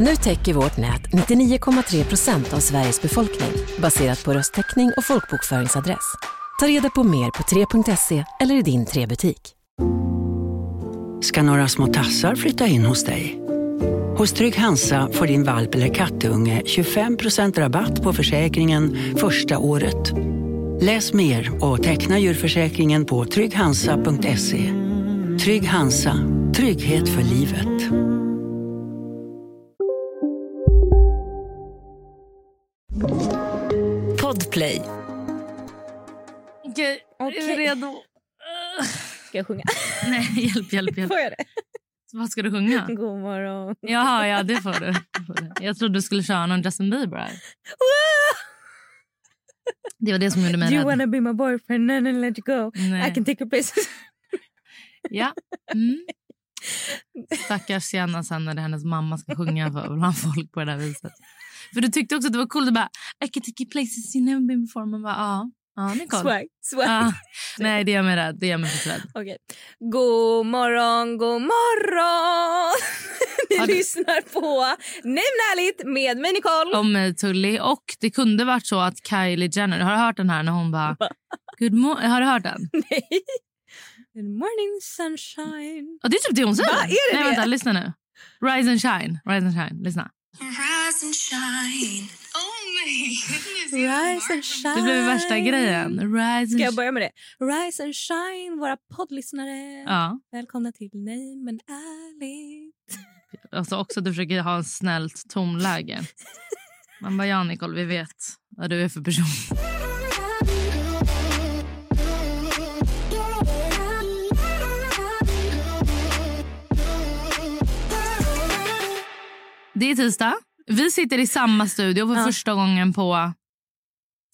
Nu täcker vårt nät 99,3 procent av Sveriges befolkning baserat på röstteckning och folkbokföringsadress. Ta reda på mer på 3.se eller i din 3-butik. ska några små tassar flytta in hos dig. Hos Trygg Hansa får din valp eller kattunge 25% rabatt på försäkringen första året. Läs mer och teckna djurförsäkringen på trygghansa.se. Trygg Hansa, trygghet för livet. Podplay. Okej, är Okej. du redo? Ska jag sjunga? Nej, hjälp, hjälp, hjälp. Får jag det? Vad ska du sjunga? God morgon. Jaha, ja, det får du. Det får du. Jag trodde du skulle köra någon Justin Bieber här. Det var det som gjorde mig Do you rädd. wanna be my boyfriend? No, no, let you go. I Nej. can take your place. Ja. Mm. Stackars Jenna sen när hennes mamma ska sjunga för bland folk på det där viset. För du tyckte också att det var coolt. Du bara, I can take you places you never been before. Man bara, ja. Ja, Nicole. Swag, swag. Ja. Nej, det gör mig rädd. Det gör mig faktiskt rädd. Okej. God morgon, god morgon! Ni Ja, det- lyssnar på Nämn ärligt med mig Nicole. Om mig, Tully. Och det kunde varit så att Kylie Jenner... Har du hört den här när hon bara... Good mo- har du hört den? Nej. Good morning sunshine. Ja, det är typ det hon säger. Va? Är det Nej, det? vänta, lyssna nu. Rise and shine. Rise and shine. Lyssna. Rise and shine. Oh my goodness. you Rise are and shine. Det blev värsta grejen. Rise Ah. Ska and jag shine. börja med det? Rise and shine, våra poddlyssnare. Ja, Välkomna till Nej men ärligt. alltså också att du försöker ha en snällt tonläge. Man bara, ja Nicole, vi vet vad du är för person. Det är tisdag. Vi sitter i samma studio för Ja. första gången på...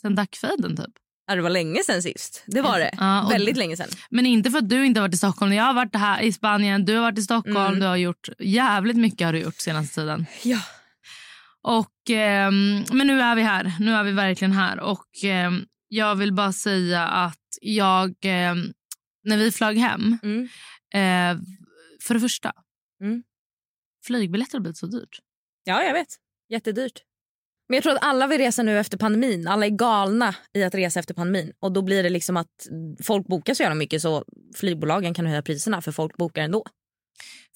Sen dackfejden, typ. Ja, det var länge sen sist. Det var det. Ja, och- Väldigt länge sen. Men inte för att du inte har varit i Stockholm. Jag har varit här i Spanien, du har varit i Stockholm. Mm. Du har gjort jävligt mycket har du gjort senaste tiden. Ja. Och, ehm, men nu är vi här. Nu är vi verkligen här. Och ehm, jag vill bara säga att jag... ehm, när vi flög hem... Mm. Eh, för det första, Mm. flygbiljetter har blivit så dyrt. ja, jag vet. Jättedyrt. Men jag tror att alla vill resa nu efter pandemin. Alla är galna i att resa efter pandemin. Och då blir det liksom att folk bokar så jävla mycket så flygbolagen kan höja priserna för folk bokar ändå.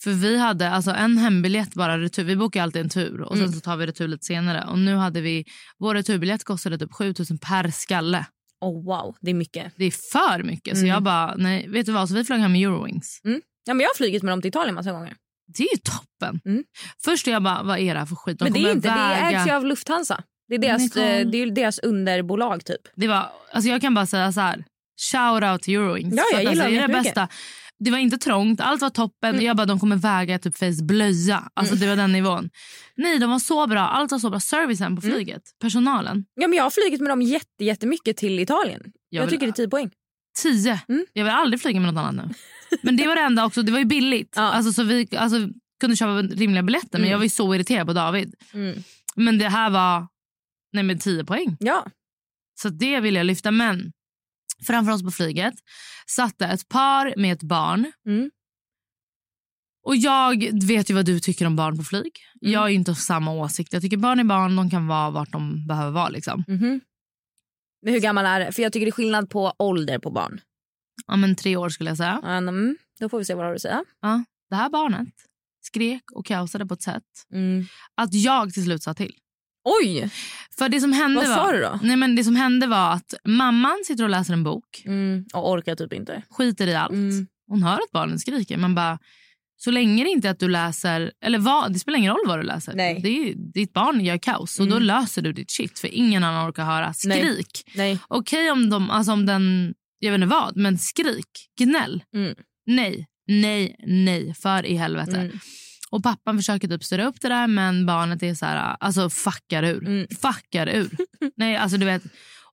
För vi hade alltså en hembiljett bara retur. Vi bokar alltid en tur och sen Mm. så tar vi retur lite senare. Och nu hade vi, vår returbiljett kostade typ 7000 per skalle. Oh, wow, det är mycket. Det är för mycket. Så Mm. jag bara, nej, vet du vad? Så vi flög hem med Eurowings. Ja, men jag har flugit med dem till Italien massa gånger. Det är ju toppen. Mm. Först är jag bara, vad är det här för skit? De men det är kommer inte, det väga- ägs ju av Lufthansa. Det är deras, Nicole. eh, det är ju deras underbolag typ. Det var, alltså jag kan bara säga så här. Shout out till Eurowings. Ja, jag För att alltså, gillar dem det är det jättemycket. Mm. bästa. Det var inte trångt, allt var toppen. Jag bara, de kommer väga typ Face blöja. Alltså det var den nivån. Nej, de var så bra. Allt var så bra. Servicen Mm. på flyget, personalen. Ja, men jag har flugit med dem jätte, jättemycket till Italien. Jag, vill- tycker det är 10 poäng. 10. Mm. Jag vill aldrig flyga med något annat nu. Men det var det enda också. Det var ju billigt. Ja. Alltså så vi alltså, kunde köpa rimliga biljetter. Men Mm. jag var ju så irriterad på David. Mm. Men det här var nej men 10 poäng. Ja. Så det vill jag lyfta. Men framför oss på flyget satt det ett par med ett barn. Mm. Och jag vet ju vad du tycker om barn på flyg. Mm. Jag är ju inte av samma åsikt. Jag tycker barn är barn, de kan vara vart de behöver vara. Liksom. Mhm. Men hur gammal är det? För jag tycker det är skillnad på ålder på barn. Ja, men tre år skulle jag säga. Mm, då får vi se vad du har att säga. Det här barnet skrek och kaosade på ett sätt Mm, att jag till slut sa till. Oj! För det som hände Vad var... sa du då? Nej, men det som hände var att mamman sitter och läser en bok, Mm. Och orkar typ inte. skiter i allt. Mm. Hon hör att barnen skriker. Man bara, så länge det inte är att du läser... Eller vad, det spelar ingen roll vad du läser. Nej. Det är, ditt barn gör kaos och då Mm. löser du ditt shit. För ingen annan orkar höra. Nej. Skrik. Nej. Okej om, de, alltså om den... Jag vet inte vad, men skrik. Gnäll. Mm. Nej, nej, nej. För i helvete. Mm. Och pappan försöker typ styra upp det där men barnet är så här, alltså fuckar ur. Mm. Fuckar ur. nej, alltså du vet.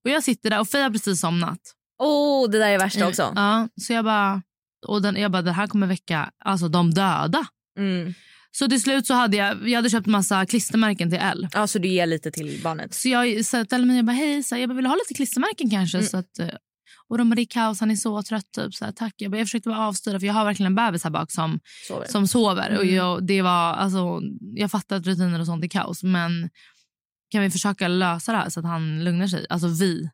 Och jag sitter där och Faye har precis somnat. Åh, Oh, det där är värsta också. Ja, så jag bara, och den, jag bara, det här kommer väcka alltså de döda. Mm. Så till slut så hade jag, jag hade köpt massa klistermärken till L. Ja, så du ger lite till barnet. Så jag sa till mig, jag bara, hej, så här, jag bara, vill du ha lite klistermärken kanske? Mm. Så att, eh, och de bara, det är kaos, han är så trött. Typ. Så här, tack. Jag, bara, jag försökte bara avstyra, för jag har verkligen en bebis här bak som Sover. som sover. Och Mm. jag, det var, alltså, jag fattar att rutiner och sånt är kaos, men kan vi försöka lösa det här så att han lugnar sig? Alltså vi.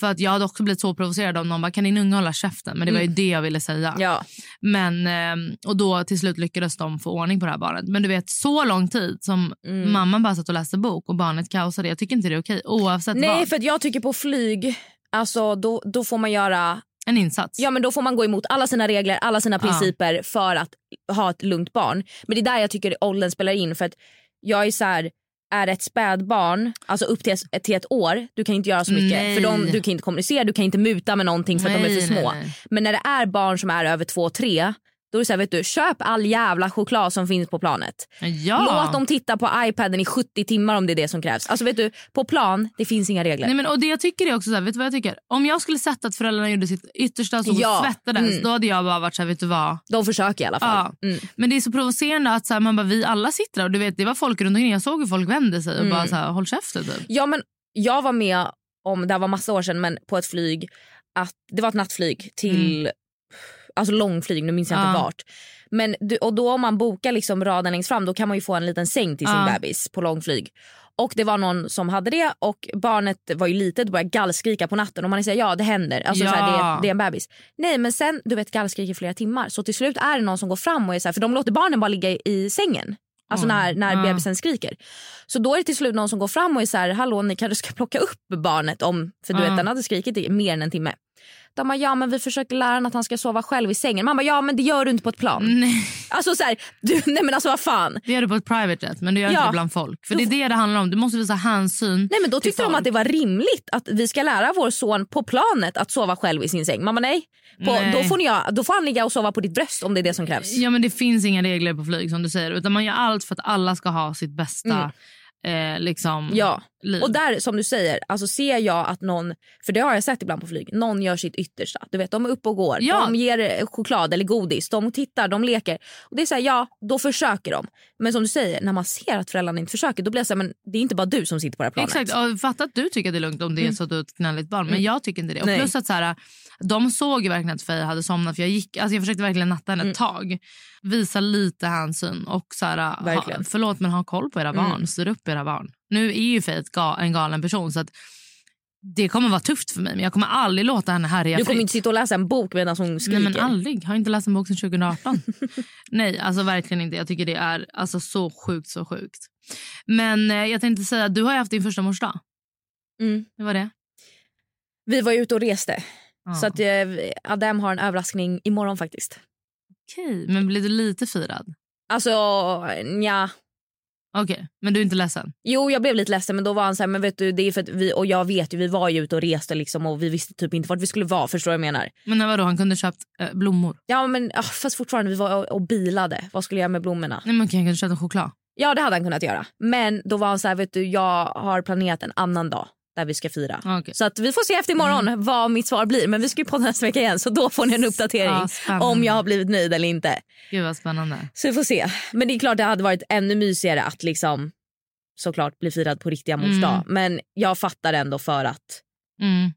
För att Jag hade också blivit så provocerad om någon bara kan din unge hålla käften. Men det var ju det jag ville säga. Mm. Ja. Men, ehm, och då till slut lyckades de få ordning på det här barnet. Men du vet så lång tid som Mm. mamman bara satt och läste bok och barnet kaosade. Jag tycker inte det är okej oavsett Nej, vad. för att jag tycker på flyg, alltså då, då får man göra En insats. Ja men då får man gå emot alla sina regler, alla sina Ja. principer för att ha ett lugnt barn. Men det är där jag tycker åldern spelar in för att jag är så här är ett spädbarn, alltså upp till ett, till ett år, du kan inte göra så mycket. Nej. För de, Du kan inte kommunicera, du kan inte muta med någonting för att de är för Nej, små. nej, nej. Men när det är barn som är över två, tre, då är det så här, vet du, köp all jävla choklad som finns på planet. Ja. Låt dem titta på iPaden i 70 timmar om det är det som krävs. Alltså vet du, på plan, det finns inga regler. Nej, men, och det jag tycker är också så här, vet du vad jag tycker? Om jag skulle sett att föräldrarna gjorde sitt yttersta så Ja. och svettades, Mm. då hade jag bara varit så här, vet du vad? De försöker i alla fall. Ja. Mm. Men det är så provocerande att så här, man bara, vi alla sitter där och du vet, det var folk runt omkring. Jag såg hur folk vände sig och Mm. bara så här, håll käften typ. Ja, men jag var med om, det här var massa år sedan, men på ett flyg. Att, det var ett nattflyg till, alltså långflyg, nu minns jag inte Mm. Ja. vart. Men, du- och då om man bokar liksom raden längst fram då kan man ju få en liten säng till sin Ja. bebis på långflyg. Och det var någon som hade det och barnet var ju litet och började gallskrika på natten och man säger ja det händer, alltså Ja. så här, det, är- det är en bebis. Nej men sen du vet gallskrik i flera timmar så till slut är det någon som går fram och är så här, för de låter barnen bara ligga i, i sängen. Alltså Oj. när, när Ja. bebisen skriker. Så då är det till slut någon som går fram och är så här, hallå ni kanske ska plocka upp barnet om, för du Ja. vet den hade skrikit i mer än en timme. De bara, ja men vi försöker lära honom att han ska sova själv i sängen. Man bara, ja men det gör du inte på ett plan. Nej, Alltså så här, du, nej men alltså vad fan. det gör du på ett private jet, men du gör Ja. inte det bland folk. För det är det det handlar om. Du måste visa hänsyn. Nej men då till tyckte de folk. att det var rimligt att vi ska lära vår son på planet att sova själv i sin säng. Mamma nej. På, Nej. Då, får ni, ja, då får han ligga och sova på ditt bröst om det är det som krävs. Ja, men det finns inga regler på flyg som du säger. Utan man gör allt för att alla ska ha sitt bästa eh, liksom, Mm. Ja. liv. Och där som du säger, alltså ser jag att någon, för det har jag sett ibland på flyg, någon gör sitt yttersta. Du vet de är uppe och går, Ja. de ger eh, choklad eller godis, de tittar, de leker. Och det är så här, ja då försöker de. Men som du säger, när man ser att föräldrarna inte försöker då blir det så här, men det är inte bara du som sitter på det här planet. Exakt, ja, fatta att du tycker att det är lugnt om det är så att du är ett gnälligt barn. Men jag tycker inte det. Och Mm. Nej. plus att så här, de såg ju verkligen att Faye hade somnat. För jag, gick, alltså jag försökte verkligen natta henne ett Mm. tag. Visa lite hänsyn och så här, ha, Verkligen. Mm. förlåt men ha koll på era barn. Styr upp era barn. Nu är ju Faye ett ga, en galen person så att det kommer vara tufft för mig. Men jag kommer aldrig låta henne härja Du kommer fritt. inte sitta och läsa en bok medan hon skriker. Nej men aldrig. Har inte läst en bok sedan 2018. Nej, alltså verkligen inte. Jag tycker det är alltså, så sjukt, så sjukt. Men eh, jag tänkte säga, du har ju haft din första morsdag. Mm. Det var det. Vi var ute och reste Ja. så att eh, Adam har en överraskning imorgon faktiskt. Okej, men blev du lite firad? Alltså ja. Okej, men du är inte ledsen? Jo jag blev lite ledsen men då var han så här, men vet du det är för att vi och jag vet ju vi var ju ute och reste liksom och vi visste typ inte vart vi skulle vara förstår du vad jag menar. Men när vadå, han kunde köpt eh, blommor? Ja men ah, fast fortfarande vi var och, och bilade. Vad skulle jag göra med blommorna? Nej men okej, han kunde köpt en choklad. Ja det hade han kunnat göra. Men då var han så här vet du jag har planerat en annan dag där vi ska fira. Ja, okej. Mm. Så att vi får se efter imorgon vad mitt svar blir men vi ska ju podda nästa vecka igen så då får ni en uppdatering Ja, spännande. om jag har blivit nöjd eller inte. Gud vad spännande. Så vi får se. Men det är klart det hade varit ännu mysigare att liksom såklart bli firad på riktiga mors Mm. dag. Men jag fattar ändå för att Mm,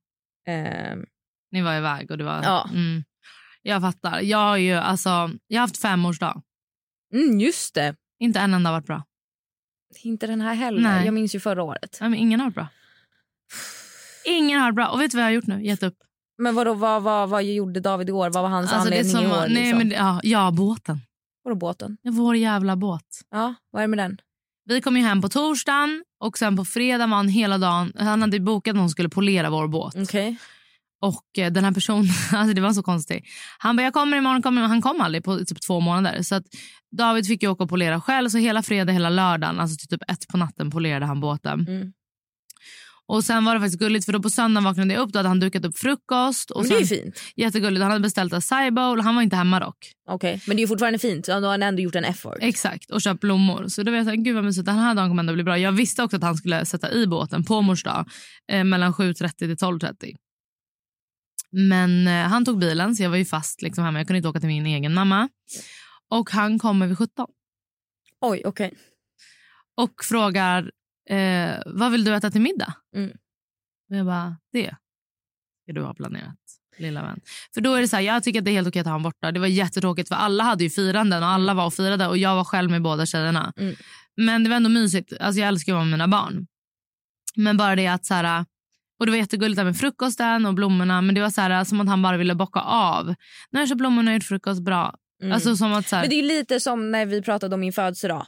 ehm, ni var iväg och det var... Ja. Mm. Jag fattar. Jag har ju alltså, jag har haft femårsdag. mm, just det. Inte en enda har varit bra. Inte den här heller. Nej. Jag minns ju förra året. Nej, men ingen har varit bra. Ingen har varit bra. Och vet du vad jag har gjort nu? Gett upp. Alltså, Men vadå, vad, vad, vad gjorde David i år? Vad var hans det är anledning i som- år? nej, liksom? men, det- ja, ja, båten. Vadå båten? Vår jävla båt. Ja, vad är det med den? Vi kom ju hem på torsdagen och sen på fredag var han hela dagen. Han hade bokat att någon skulle polera vår båt. Okej. Och eh, den här personen, alltså det var så konstigt. Han bara, jag kommer imorgon, kommer imorgon. Han kom aldrig på typ två månader. Så att David fick ju åka och polera själv. Så hela fredag, hela lördagen, alltså till typ ett på natten polerade han båten. Mm. Och sen var det faktiskt gulligt för då på söndagen vaknade jag upp då hade han dukat upp frukost. Och men det är ju sen, fint. jättegulligt, han hade beställt acai bowl, han var inte hemma dock. Okej, Men det är ju fortfarande fint. Ja, Då har han ändå gjort en effort. Exakt, och köpt blommor. Så då var jag så här, gud vad mysigt, den här dagen kommer ändå bli bra. Jag visste också att han skulle sätta i båten på mors dag eh, mellan 7.30 till 12.30. Men eh, han tog bilen så jag var ju fast liksom hemma. Jag kunde inte åka till min egen mamma. Och han kommer vid 17 Oj, okej. och frågar eh, vad vill du äta till middag? Mm. Och jag bara, det ska du ha planerat. Lilla vän. För då är det så här, jag tycker att det är helt okej att ha honom borta. Det var jättetråkigt för alla hade ju firanden och alla var och firade och jag var själv med båda tjejerna. Mm. Men det var ändå mysigt. Alltså jag älskar ju att vara med mina barn. Men bara det att så här, och det var jättegulligt där med frukosten och blommorna men det var så här, som att han bara ville bocka av. Nu har jag köpt blommorna och gjort frukost bra. Mm. Alltså som att så här, Men det är ju lite som när vi pratade om min födelsedag.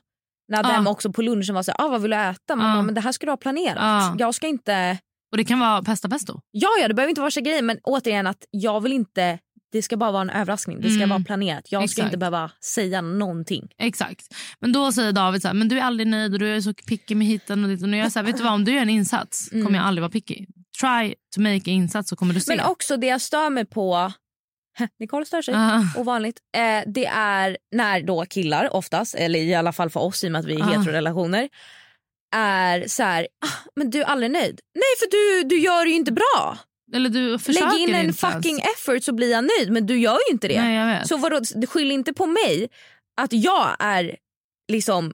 När Ja. den också på lunchen var så här, ah, vad vill du äta? Man Ja. bara, men det här ska du ha planerat. Ja. Jag ska inte... och det kan vara pesta pesto. Ja, ja, det behöver inte vara så grejer men återigen att jag vill inte... Det ska bara vara en överraskning. Det ska Mm. vara planerat. Jag ska Exakt. inte behöva säga någonting. Exakt. Men då säger David så här, men du är aldrig nöjd och du är så picky med hitten och dit. Och nu är jag så här, vet du vad, om du gör en insats Mm. kommer jag aldrig vara picky. Try to make an insats så kommer du se. Men också det jag stör mig på... Nicole stör sig. Ah, ovanligt. Eh, det är när då killar oftast, eller i alla fall för oss i och med att vi är i Ah. heterorelationer, är så här, ah, men du är aldrig nöjd. Nej för du, du gör det ju inte bra. eller du försöker Lägg in en inte ens. fucking effort så blir jag nöjd men du gör ju inte det. Nej, jag vet. Så vadå, skyll inte på mig att jag är liksom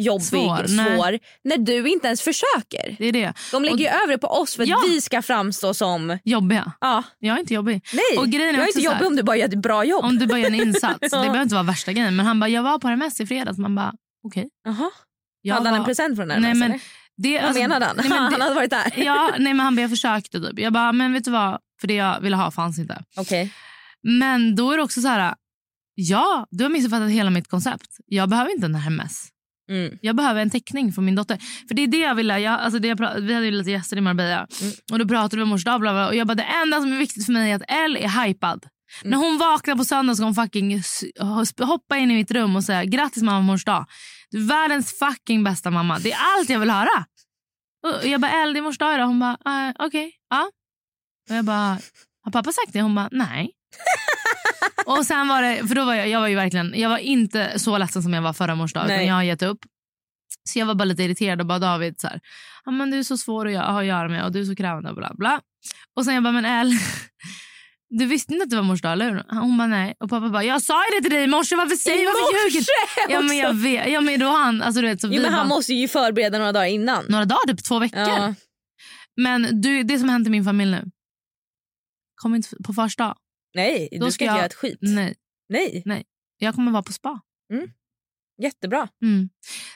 jobbig, Svår, svår, nej. när du inte ens försöker. Det är det. De lägger ju över det på oss för att Ja. vi ska framstå som, Jobbiga. ja, Jag är inte jobbig. nej, Och grejen är jag är också inte så här- jobbig om du bara gör ett bra jobb. Om du bara gör en insats. Det Ja. behöver inte vara värsta grejen. Men han bara, jag var på RMS i fredags. Man bara, okej. Jaha. Jag Hade han en var- present från den Nej, här men- eller? Det, Vad alltså- menade han? Nej, men det- han hade varit där. Ja, nej men han bara, jag försökte typ. Jag bara, men vet du vad? För det jag ville ha fanns inte. Okej. Men då är det också så här... Ja, du har missuppfattat hela mitt koncept. Jag behöver inte en Hermes. Mm. Jag behöver en teckning för min dotter. För det är det jag ville. Jag, alltså det jag pra- vi hade ju lite gäster i Marbella. Och då pratade vi om mors dag. bla, bla. Och jag bara, det enda som är viktigt för mig är att Elle är hypad. När hon vaknar på söndag ska hon fucking s- sp- hoppa in i mitt rum och säga grattis mamma mors dag. Du är världens fucking bästa mamma. Det är allt jag vill höra. Och jag bara, Elle det är mors dag idag. Hon bara, eh, okej. ja. Och jag bara, har pappa sagt det? Hon bara, nej. och sen var det, för då var jag, jag var ju verkligen, jag var inte så ledsen som jag var förra mors dag. utan Nej. Jag har gett upp. Så jag var bara lite irriterad och bara David så här, ja men du är så svår att gö- ha att göra med och du är så krävande och bla bla. Och sen jag bara, men Elle, du visste inte att det var mors dag eller hur? Hon bara nej. Och pappa bara, jag sa ju det till dig i morse, varför säger varför ljuger du? Ja men jag vet, ja men då han, alltså du vet så vi Jo, men han bara, måste ju förbereda några dagar innan. några dagar, typ två veckor. Ja. Men du, det som hänt i min familj nu, kom inte på första Nej, Då du ska ska inte jag- göra ett skit. Nej. Nej, jag kommer vara på spa. Jättebra. Mm.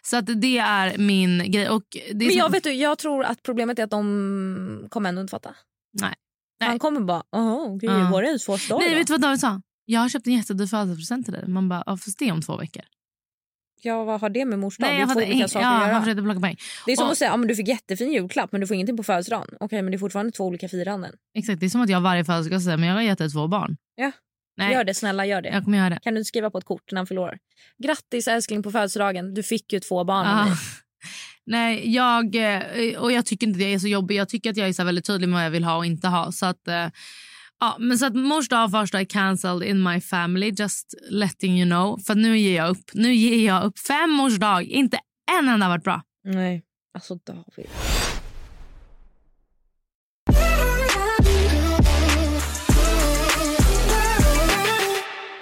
Så att det är min grej. Och det är Men som- jag, vet du, jag tror att problemet är att de kommer ändå inte fatta. Nej. Nej. Han kommer bara, åh, gud, Ja. var det en svår story Nej, då?" vet du vad David sa? Jag har köpt en jättedyr födelsedagspresent till dig. Man bara, ja, fast det är om två veckor. Ja, vad har det med mors dag? Det Nej, är jag två fattar olika ing- saker ja, att han göra. försökte plocka poäng. Det är som och- att säga, ja, men du fick jättefin julklapp men du får ingenting på födelsedagen. Okej, men det är fortfarande två olika firanden. Exakt, det är som att jag varje födelsedag säger, men jag har gett dig två barn. Ja. Nej, Gör det, snälla gör det. jag kommer göra det. Kan du inte skriva på ett kort när han förlorar? Grattis älskling på födelsedagen, du fick ju två barn. av Ja. mig." Ah. Nej, jag, eh, och jag tycker inte det är så jobbigt. Jag tycker att jag är så här väldigt tydlig med vad jag vill ha och inte ha. Så att, eh, ja, men så att mors dag och fars dag är cancelled in my family. Just letting you know. För att nu ger jag upp. Nu ger jag upp. Fem års dag. Inte en enda har varit bra. Nej, alltså David.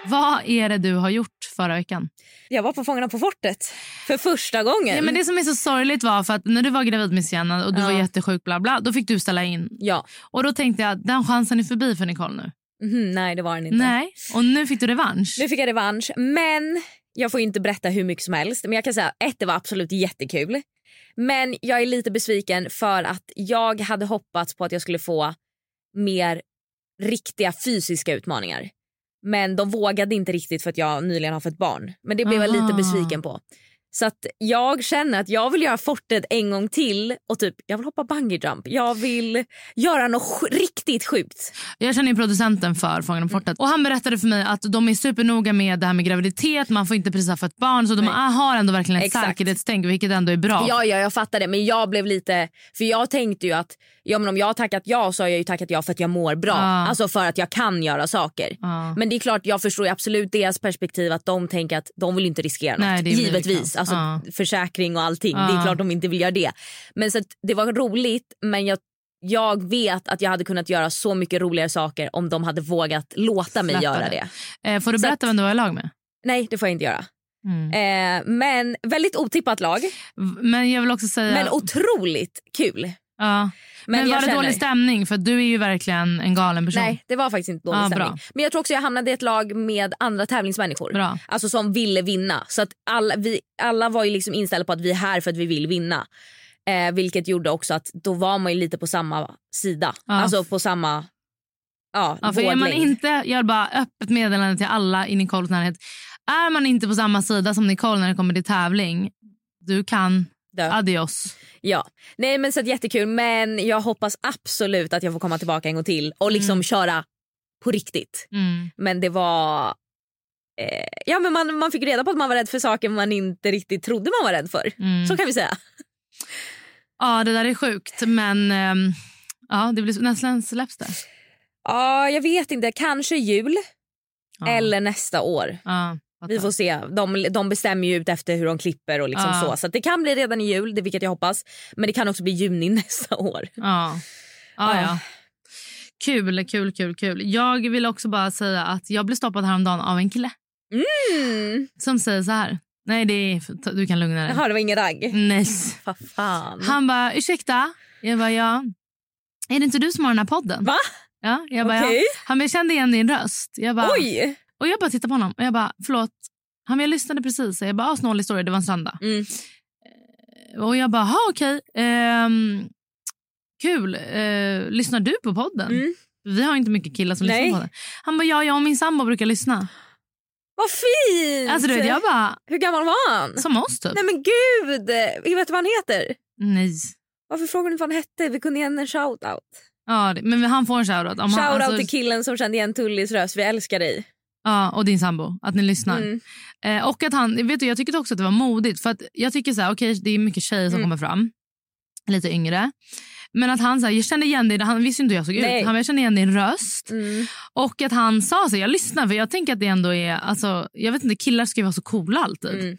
Vad är det du har gjort förra veckan? Jag var på Fångarna på fortet för första gången. Ja, men det som är så sorgligt var för att när du var gravid med Sienna och du Ja. var jättesjuk bla bla, då fick du ställa in. Ja. Och då tänkte jag den chansen är förbi för Nicole nu. Mhm, nej, det var den inte. Nej, och nu fick du revansch. Nu fick jag revansch, men jag får ju inte berätta hur mycket som helst. Men jag kan säga ett, det var absolut jättekul. Men jag är lite besviken för att jag hade hoppats på att jag skulle få mer riktiga fysiska utmaningar. Men de vågade inte riktigt för att jag nyligen har fått barn. Men det blev jag Aha. lite besviken på. Så att jag känner att jag vill göra fortet en gång till och typ jag vill hoppa bungee jump. Jag vill göra något sj- riktigt sjukt. Jag känner ju producenten för Fångarna Mm. på fortet. Och han berättade för mig att de är supernoga med det här med graviditet. Man får inte prisa för ett barn. Så de har ändå verkligen ett Exakt. säkerhetstänk vilket ändå är bra. Ja, ja, jag fattar det. Men jag blev lite... För jag tänkte ju att ja, men om jag har tackat ja så har jag ju tackat ja för att jag mår bra. Ja. Alltså för att jag kan göra saker. Ja. Men det är klart, jag förstår ju absolut deras perspektiv att de tänker att de vill inte riskera något. Nej, det blir Givetvis. liksom. Alltså Ja. försäkring och allting. Det Ja. är klart de inte vill göra det. Men så att det var roligt men jag jag vet att jag hade kunnat göra så mycket roligare saker om de hade vågat låta mig Släppa göra det. det. Eh, får du Så berätta att- vem du var i lag med? Nej, det får jag inte göra. Mm. Eh, men väldigt otippat lag, V- Men jag vill också säga... men otroligt kul. ja. men, jag var det känner- dålig stämning? För du är ju verkligen en galen person. Nej, det var faktiskt inte dålig Ja, Ah, bra. stämning. Men jag tror också jag hamnade i ett lag med andra tävlingsmänniskor. Bra. Alltså som ville vinna. Så att alla, vi, alla var ju liksom inställda på att vi är här för att vi vill vinna. Eh, vilket gjorde också att då var man ju lite på samma sida. Ja. Alltså på samma ja, Ja, för är man våglängd. inte, jag har bara öppet meddelande till alla i Nicoles närhet. Är man inte på samma sida som Nicole när det kommer till tävling, du kan Dö. adios. Ja. Nej men så att jättekul men jag hoppas absolut att jag får komma tillbaka en gång till och liksom köra på riktigt. Mm. Men det var... Eh, ja men man, man fick reda på att man var rädd för saker man inte riktigt trodde man var rädd för. Mm. Så kan vi säga. Ja, det där är sjukt. Men ehm, ja, det blir, när sen släpps det? Ja, jag vet inte. Kanske jul Ja. eller nästa år. Ja, fattar. Vi får se. De, de bestämmer ju ut efter hur de klipper och liksom Ja. så. Så att det kan bli redan i jul, det vilket jag hoppas. Men det kan också bli juni nästa år. Ja. Ja, Ja. ja. Kul, kul, kul, kul. Jag vill också bara säga att jag blev stoppad häromdagen av en kille Mm. som säger så här. Nej, det är, du kan lugna dig. Jaha, det var ingen ragg. Nej. Vad fan. Mm. Han bara, ursäkta? Jag bara, ja. Är det inte du som har den här podden? Va? Ja, jag bara, Okej. ja. Han bara, jag kände igen din röst. Jag bara, Oj! Och jag bara tittade på honom och jag bara, förlåt. Han bara, jag lyssnade precis. Jag bara, ah, snål historia, det var en söndag. Eh, Mm. Och jag bara, ha okej. Ehm, kul. Eh, lyssnar du på podden? Mm. Vi har inte mycket killar som Nej. lyssnar på den. Han bara, ja, jag och min sambo brukar lyssna. Vad fint! Alltså du vet, jag bara, Hur gammal var han? som oss typ. Nej men gud! Jag vet du vad han heter? Nej. Varför frågade du inte vad han hette? Vi kunde ge henne en shoutout. Ja, det- men han får en shoutout. Om han, Shoutout alltså- till killen som kände igen Tullis röst. Vi älskar dig. Ja, och din sambo. Att ni lyssnar. Mm. Eh, och att han, vet du, jag tycker också att det var modigt. För att jag tycker så här, okej det är mycket tjejer som Mm. kommer fram. Lite yngre. Men att han så här, jag kände igen dig, han visste ju inte hur jag såg Nej. ut. Han bara, jag kände igen din röst. Mm. Och att han sa så här, jag lyssnar för jag tänker att det ändå är, alltså, jag vet inte, killar ska ju vara så coola alltid. Mm.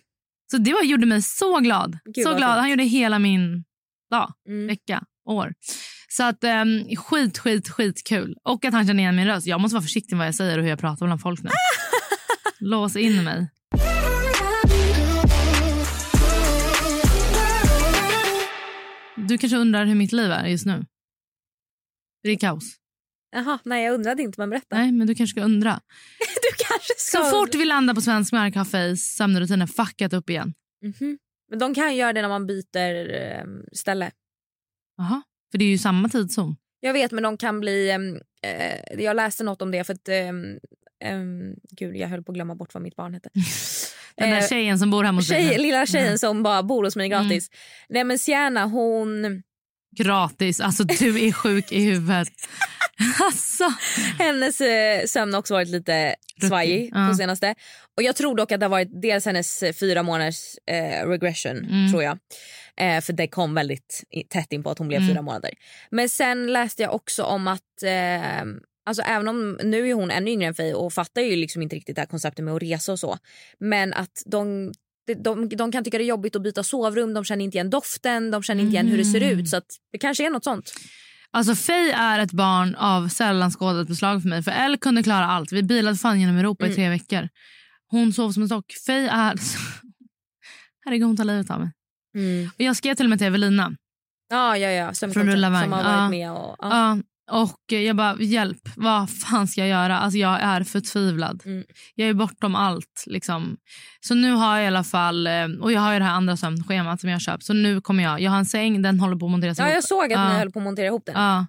Så det var, gjorde mig så glad. Gud, så vad glad. fint. Han gjorde hela min dag, Mm. vecka, år. Så att ehm, skit, skit, skitkul. Och att han känner igen min röst. Jag måste vara försiktig med vad jag säger och hur jag pratar bland folk nu. Lås in mig. Du kanske undrar hur mitt liv är just nu? Det är kaos. Jaha, nej jag undrade inte men berätta. Nej, men du kanske ska undra. Du kanske ska... Så fort vi landar på svensk mark har Fays sömnrutiner fuckat upp igen. Mhm. Men de kan ju göra det när man byter eh, ställe. Jaha, för det är ju samma tidszon. Jag vet men de kan bli... ehm, Eh, jag läste något om det för att... ehm, ehm, gud jag höll på att glömma bort vad mitt barn hette. Den där Eh, tjejen som bor hemma hos tjej, dig. lilla tjejen Mm. som bara bor hos mig gratis. Nej men Sienna hon... Gratis. Alltså du är sjuk i huvudet. Alltså. Hennes eh, sömn har också varit lite svajig Ja. på senaste. Och jag tror dock att det har varit dels hennes eh, fyra månaders eh, regression Mm. tror jag. Eh, för det kom väldigt i- tätt in på att hon blev Mm. fyra månader. Men sen läste jag också om att eh, Alltså även om nu är hon ännu yngre än Faye och fattar ju liksom inte riktigt det här konceptet med att resa och så. Men att de, de, de, de kan tycka det är jobbigt att byta sovrum, de känner inte igen doften, de känner inte igen hur det ser Mm. ut. Så att det kanske är något sånt. Alltså Faye är ett barn av sällan skådat beslag för mig. För Elle kunde klara allt. Vi bilade fan genom Europa i Mm. tre veckor. Hon sov som en stock. Faye är... Herregud, hon tar livet av mig. Och jag skrev till och med till Evelina. Ja, ja, ja. Som, Mm. Från Ulla Wang, Som har ja. varit med och... ja. Ja. och jag bara, hjälp, vad fan ska jag göra? Alltså jag är förtvivlad. Mm. Jag är bortom allt. Liksom. Så nu har jag i alla fall, eh, och jag har ju det här andra sömnschemat som jag har köpt. Så nu kommer jag, jag har en säng, den håller på att monteras Alltså, Ja, ihop. jag såg att Ja. ni höll på att montera ihop den. Ja.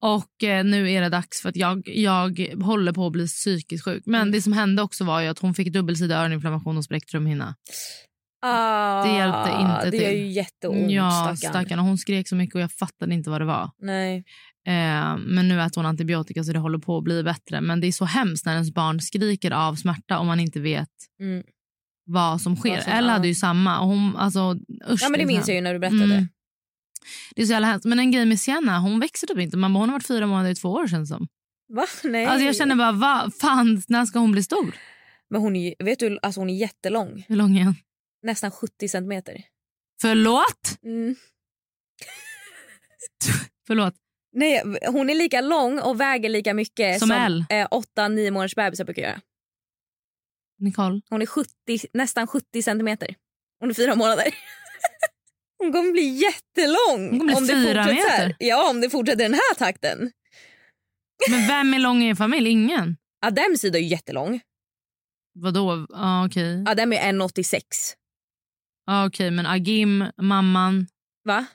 Och eh, nu är det dags för att jag, jag håller på att bli Mm. psykiskt sjuk. Men det som hände också var ju att hon fick dubbelsidig öroninflammation och spräckt trumhinna. Ah, Det hjälpte inte Det gör till. ju jätteont. ja, Ja, stackarn. Och Hon skrek så mycket och jag fattade inte vad det var. Nej. Eh, men nu äter hon antibiotika så det håller på att bli bättre. Men det är så hemskt när ens barn skriker av smärta och man inte vet Mm. vad som sker. som- Ella ja. hade ju samma. Och hon, alltså, usch, Ja, men det är så minns här- jag ju när du berättade. Mm. Det är så jävla hemskt. Men en grej med Sienna, hon växer typ inte. Man bara, hon har varit fyra månader i två år känns det som. Va? Nej. Alltså jag känner bara, vad fan, när ska hon bli stor? Men hon är, ju- vet du, alltså hon är jättelång. Hur lång är hon? Nästan 70 centimeter. Förlåt? Mm. Förlåt. Nej, hon är lika lång och väger lika mycket Som L. eh, 8-9 månaders bebisar brukar göra. Nicole. Hon är 70, nästan 70 centimeter. Hon är fyra månader. Hon kommer bli jättelång Hon kommer bli om, det fyra fortsätter. så meter. Här. Ja, om det fortsätter i den här takten. Men vem är lång i en familj? Ingen. Adems sida är ju jättelång. Mm. Vadå? Ja, okej. Adem är 1,86. Ja, okej, men Agim, mamman, Va?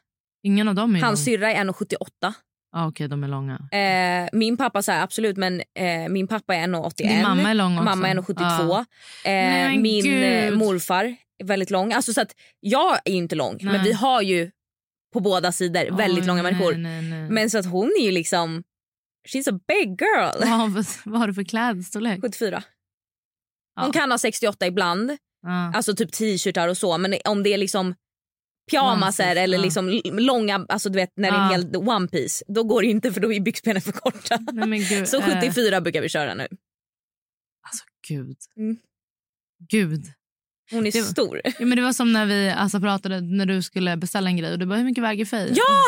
ingen av dem är Hans lång. syrra är 1,78. Ja, okej, de är långa. Eh, min pappa så här, absolut, men eh, min pappa är 1,81. Din mamma är lång också. Mamma är 1,72. Ja. Eh, men min eh, gud. morfar är väldigt lång. Alltså, så att, jag är ju inte lång, Nej. men vi har ju på båda sidor väldigt Oj, långa människor. Nej, nej, nej. Men så att hon är ju liksom... She's a big girl. Vad, har, för- vad har du för klädstorlek? 74. Hon Ja. kan ha 68 ibland, Ja. alltså typ t-shirtar och så. Men om det är liksom pyjamaser Onesie, eller ja. liksom l- långa, alltså du vet när det är Ja. en hel one piece då går det ju inte för då är byxbenen för korta. Nej, men gud, Så eh, 74 brukar vi köra nu. Alltså gud. Mm. Gud. Hon är det var- stor. Ja, men det var som när vi alltså, pratade när du skulle beställa en grej och du bara hur mycket väger Fej? Ja!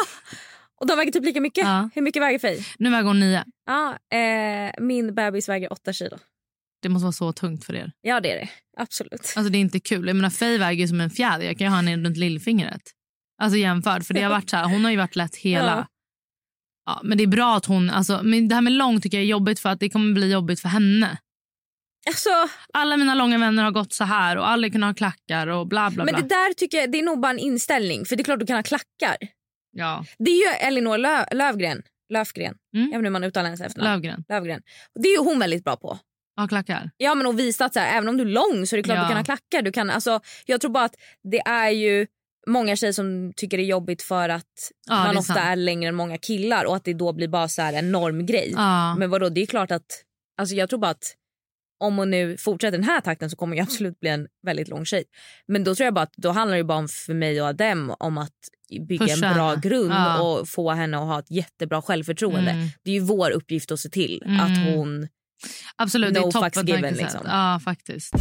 Och de väger typ lika mycket. Ja. Hur mycket väger Fej? Nu väger hon nio. Ja, eh, min bebis väger 8 kilo. Det måste vara så tungt för er. Ja det är det. Absolut. Alltså det är inte kul. Jag menar Fej väger ju som en fjäder. Jag kan ju ha henne runt lillfingret. Alltså jämförd. För det har varit så här, hon har ju varit lätt hela. Ja. Ja. men det är bra att hon, alltså, men det här med lång tycker jag är jobbigt för att det kommer bli jobbigt för henne. Alltså, Alla mina långa vänner har gått så här och alla kunde ha klackar och bla bla bla. men det där tycker jag, det är nog bara en inställning. För det är klart du kan ha klackar. Ja, Det är ju Elinor Lö- Lövgren. Löfgren. Mm. Jag vet inte hur man uttalar hennes efternamn. Lövgren. Lövgren. Och Det är ju hon väldigt bra på. Ja, klackar. Ja men och visa att så här, även om du är lång så är det klart Ja. du kan ha klackar. Du kan, alltså, jag tror bara att det är ju många tjejer som tycker det är jobbigt för att Ja, det man är ofta sant. är längre än många killar och att det då blir bara så här en normgrej. Ja. Men vadå det är klart att, alltså jag tror bara att om hon nu fortsätter den här takten så kommer jag absolut bli en väldigt lång tjej. Men då tror jag bara att då handlar det bara om för mig och Adem om att bygga Pusha en bra henne. grund Ja. och få henne att ha ett jättebra självförtroende. Mm. Det är ju vår uppgift att se till Mm. att hon Absolut, det No är toppen. fucks given, verkligen. liksom. Ja, faktiskt.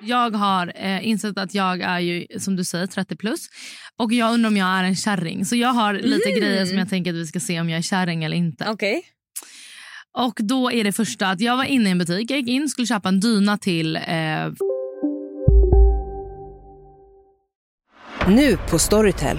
Jag har eh, insett att jag är ju som du säger 30 plus och jag undrar om jag är en kärring. Så jag har lite Mm. grejer som jag tänker att vi ska se om jag är kärring eller inte. Okej. Och då är det första att jag var inne i en butik. Jag gick in skulle köpa en dyna till eh, Nu på Storytel.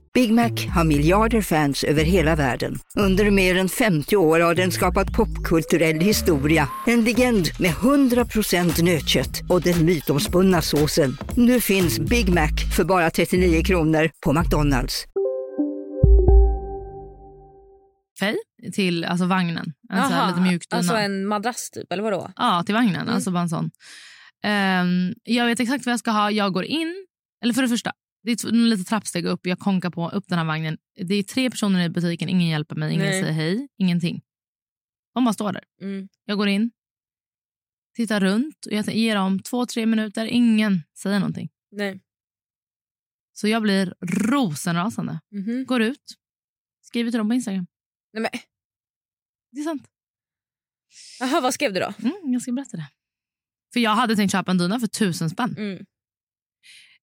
Big Mac har miljarder fans över hela världen. Under mer än 50 år har den skapat popkulturell historia. En legend med 100% nötkött och den mytomspunna såsen. Nu finns Big Mac för bara 39 kronor på McDonalds. fej till alltså vagnen. En så här Jaha, lite mjuk dyna. Alltså en Mm. madrass typ, eller vadå? Ja, till vagnen. Alltså bara en sån. Ehm, jag vet exakt vad jag ska ha. Jag går in. Eller för det första, det är t- lite trappsteg upp. Jag konkar på upp den här vagnen. Det är tre personer i butiken. Ingen hjälper mig, ingen Nej. säger hej, ingenting. De bara står där. Mm. Jag går in, tittar runt. Och jag t- ger dem två, tre minuter. Ingen säger någonting. Nej. Så jag blir rosenrasande. Mhm. Går ut, skriver till dem på Instagram. Nej men, det är sant. Jaha, vad skrev du då? Mm, jag ska berätta det. För jag hade tänkt köpa en dyna för tusen spänn. Mm.